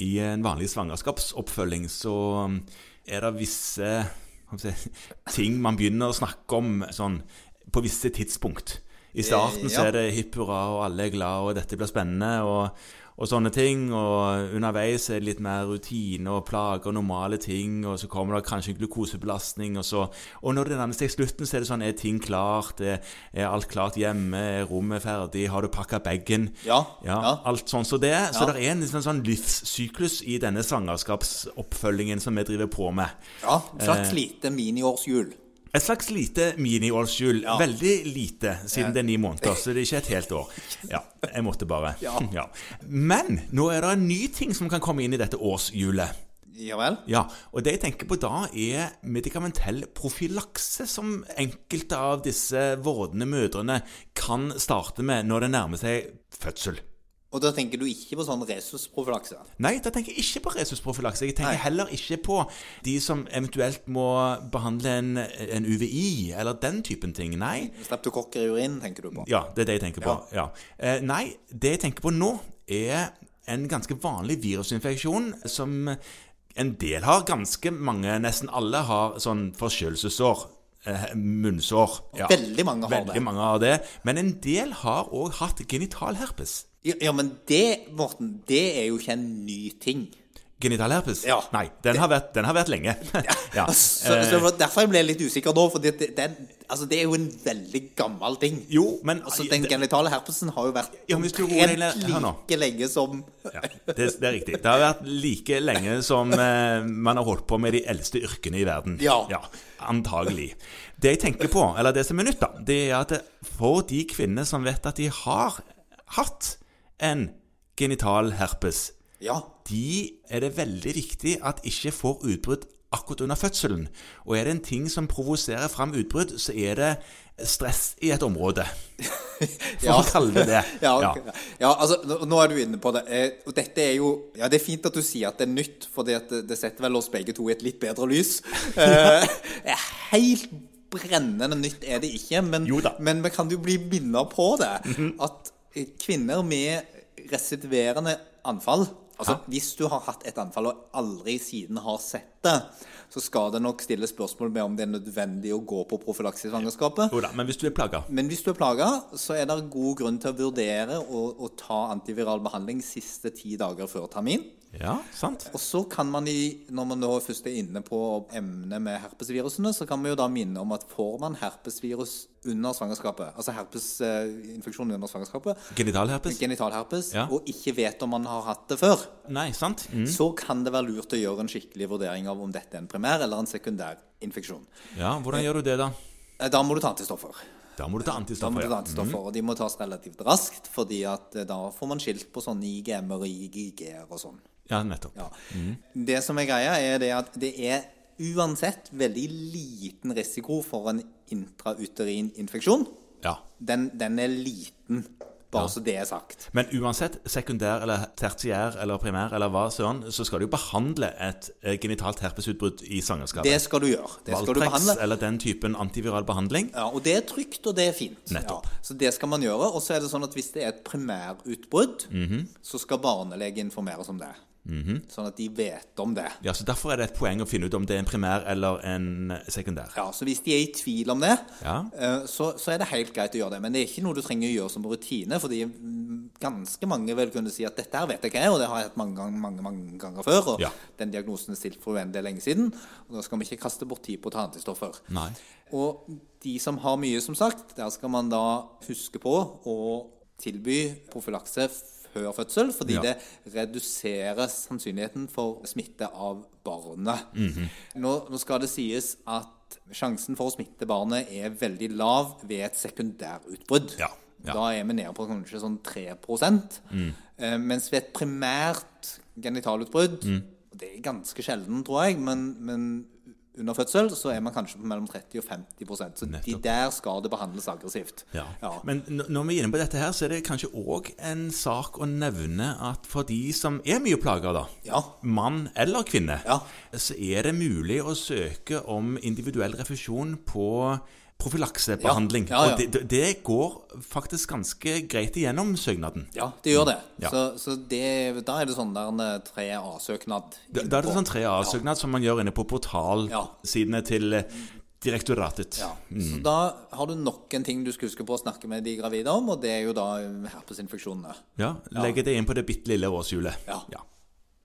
I en vanlig svangerskapsoppfølging så um, er det visse hva skal jeg si, ting man begynner å snakke om sånn, på visse tidspunkt. I starten så Eh, ja. er det hipp hurra, og alle er glade, og dette blir spennende, og, og sånne ting. Og underveis er det litt mer rutine og plager og normale ting, og så kommer det kanskje en glukosebelastning, og så Og når det nærmer seg slutten, så er det sånn Er ting klart? Er, er alt klart hjemme? Er rommet ferdig? Har du pakka bagen? Ja. Ja, ja. alt sånn som det. er. Så Ja. det er en liksom, sånn livssyklus i denne svangerskapsoppfølgingen som vi driver på med. ja. Et slags lite miniårshjul. Et slags lite mini-årshjul. Veldig lite, siden det er ni måneder, så det er ikke et helt år. Ja, jeg måtte bare. Ja. Men nå er det en ny ting som kan komme inn i dette årshjulet. Ja vel? Ja, og det jeg tenker på da er medikamentell profylakse, som enkelte av disse vordende mødrene kan starte med når det nærmer seg fødsel. Og da tenker du ikke på sånn resusprofylakse? Nei, da tenker jeg ikke på resusprofylakse. Jeg tenker Nei. heller ikke på de som eventuelt må behandle en, en UVI, eller den typen ting. Nei. Streptokokker i urin tenker du på? Ja, det er det jeg tenker på. Ja. Eh, nei, det jeg tenker på nå, er en ganske vanlig virusinfeksjon som en del har. Ganske mange, nesten alle, har sånn forkjølelsesår. Eh, munnsår. Ja. Veldig mange har det. Veldig mange har det. Men en del har òg hatt genitalherpes. Ja, ja, men det, Morten, det er jo ikke en ny ting. Genitalherpes? Ja. Nei, den har vært, den har vært lenge. ja. Så, Eh. så det var derfor jeg ble litt usikker nå, for det, det, den- altså, det er jo en veldig gammel ting. Jo, men Altså, den genitale herpesen har jo vært Ja, men hvis du roer deg ned- hør nå. like lenge som ja, det, det er riktig. Det har vært like lenge som eh, man har holdt på med de eldste yrkene i verden. Ja. Antagelig. Det jeg tenker på, eller det som er nytt, da, det er at det- for de kvinnene som vet at de har hatt en genital herpes, Ja. de er det veldig viktig at ikke får utbrudd akkurat under fødselen. Og er det en ting som provoserer fram utbrudd, så er det stress i et område. For Ja. å kalle det det. Ja, ok. ja, altså, nå- nå er du inne på det. Eh, og dette er jo Ja, det er fint at du sier at det er nytt, for det, det setter vel oss begge to i et litt bedre lys. Eh, helt brennende nytt er det ikke, men, Jo da. Mhm. men vi kan jo bli minna på det. At eh, kvinner med residuerende anfall Altså, Hvis du har hatt et anfall og aldri siden har sett det, så skal det nok stilles spørsmål med om det er nødvendig å gå på profylakse i svangerskapet. Jo da, men hvis du er plaga Men hvis du er plaga, så er det god grunn til å vurdere å, å ta antiviral behandling siste ti dager før termin. Ja, sant? Og så kan man, i, når man nå først er inne på emnet med herpesvirusene, så kan man jo da minne om at får man herpesvirus under svangerskapet, altså herpesinfeksjon under svangerskapet, Genitalherpes? genitalherpes, Ja. og ikke vet om man har hatt det før, Nei, sant? Mm. så kan det være lurt å gjøre en skikkelig vurdering av om dette er en primær eller en sekundær infeksjon. Ja, hvordan gjør du det, da? Eh, Da må du ta antistoffer. Da må du ta Da må antistoffer. du ta Ja. Mhm. antistoffer, og de må tas relativt raskt, fordi at eh, da får man skilt på sånne IgM-er og IgG-er og sånn. ja, nettopp. Ja. Mhm. Det som er greia, er det at det er uansett veldig liten risiko for en intrauterin infeksjon. Ja. Den, den er liten, bare så det er sagt. Men uansett, sekundær eller tertiær eller primær eller hva søren, så skal du jo behandle et eh, genitalt herpesutbrudd i Det svangerskapet. skal du gjøre. Det skal du Valtrex behandle. eller den typen antiviral behandling. Ja, og det er trygt, og det er fint. Nettopp. Ja, så det skal man gjøre. Og så er det sånn at hvis det er et primærutbrudd, Mhm. så skal barnelege informeres om det. Sånn at de vet om det. Ja, så Derfor er det et poeng å finne ut om det er en primær eller en eh, sekundær. Ja, så hvis de er i tvil om det, Ja. eh, så, så er det helt greit å gjøre det. Men det er ikke noe du trenger å gjøre som rutine, fordi mm, ganske mange vil kunne si at dette her vet jeg hva er, og det har jeg hatt mange, ganger- mange, mange ganger før, og Ja. den diagnosen er stilt for uendelig lenge siden, og da skal vi ikke kaste bort tid på å ta antistoffer. Nei. Og de som har mye, som sagt, der skal man da huske på å tilby profylakse før fødsel, fordi Ja. det reduserer sannsynligheten for smitte av barnet. Mhm. nå, nå skal det sies at sjansen for å smitte barnet er veldig lav ved et sekundærutbrudd. Ja, ja. Da er vi nede på kanskje sånn 3 Mm. eh, Mens ved et primært genitalutbrudd Mm. og Det er ganske sjelden, tror jeg, men, men under fødsel så er man kanskje på mellom 30 og 50 Så de Nettopp. der skal det behandles aggressivt. Ja. Ja. Men n- når vi er inne på dette, her, så er det kanskje òg en sak å nevne at for de som er mye plaga, da, Ja. mann eller kvinne, Ja. så er det mulig å søke om individuell refusjon på profylaksebehandling. Ja, ja, ja. Og det, det går faktisk ganske greit igjennom søknaden. Ja, det gjør det. Mm. Ja. Så, så det, da er det sånn der en 3A-søknad. Da, da er det sånn 3A-søknad som man gjør inne på portalsidene til eh, direktoratet. Ja. Så da har du nok en ting du skal huske på å snakke med de gravide om, og det er jo da herpesinfeksjonene. Ja, Legge det inn på det bitte lille årshjulet. Ja. Ja.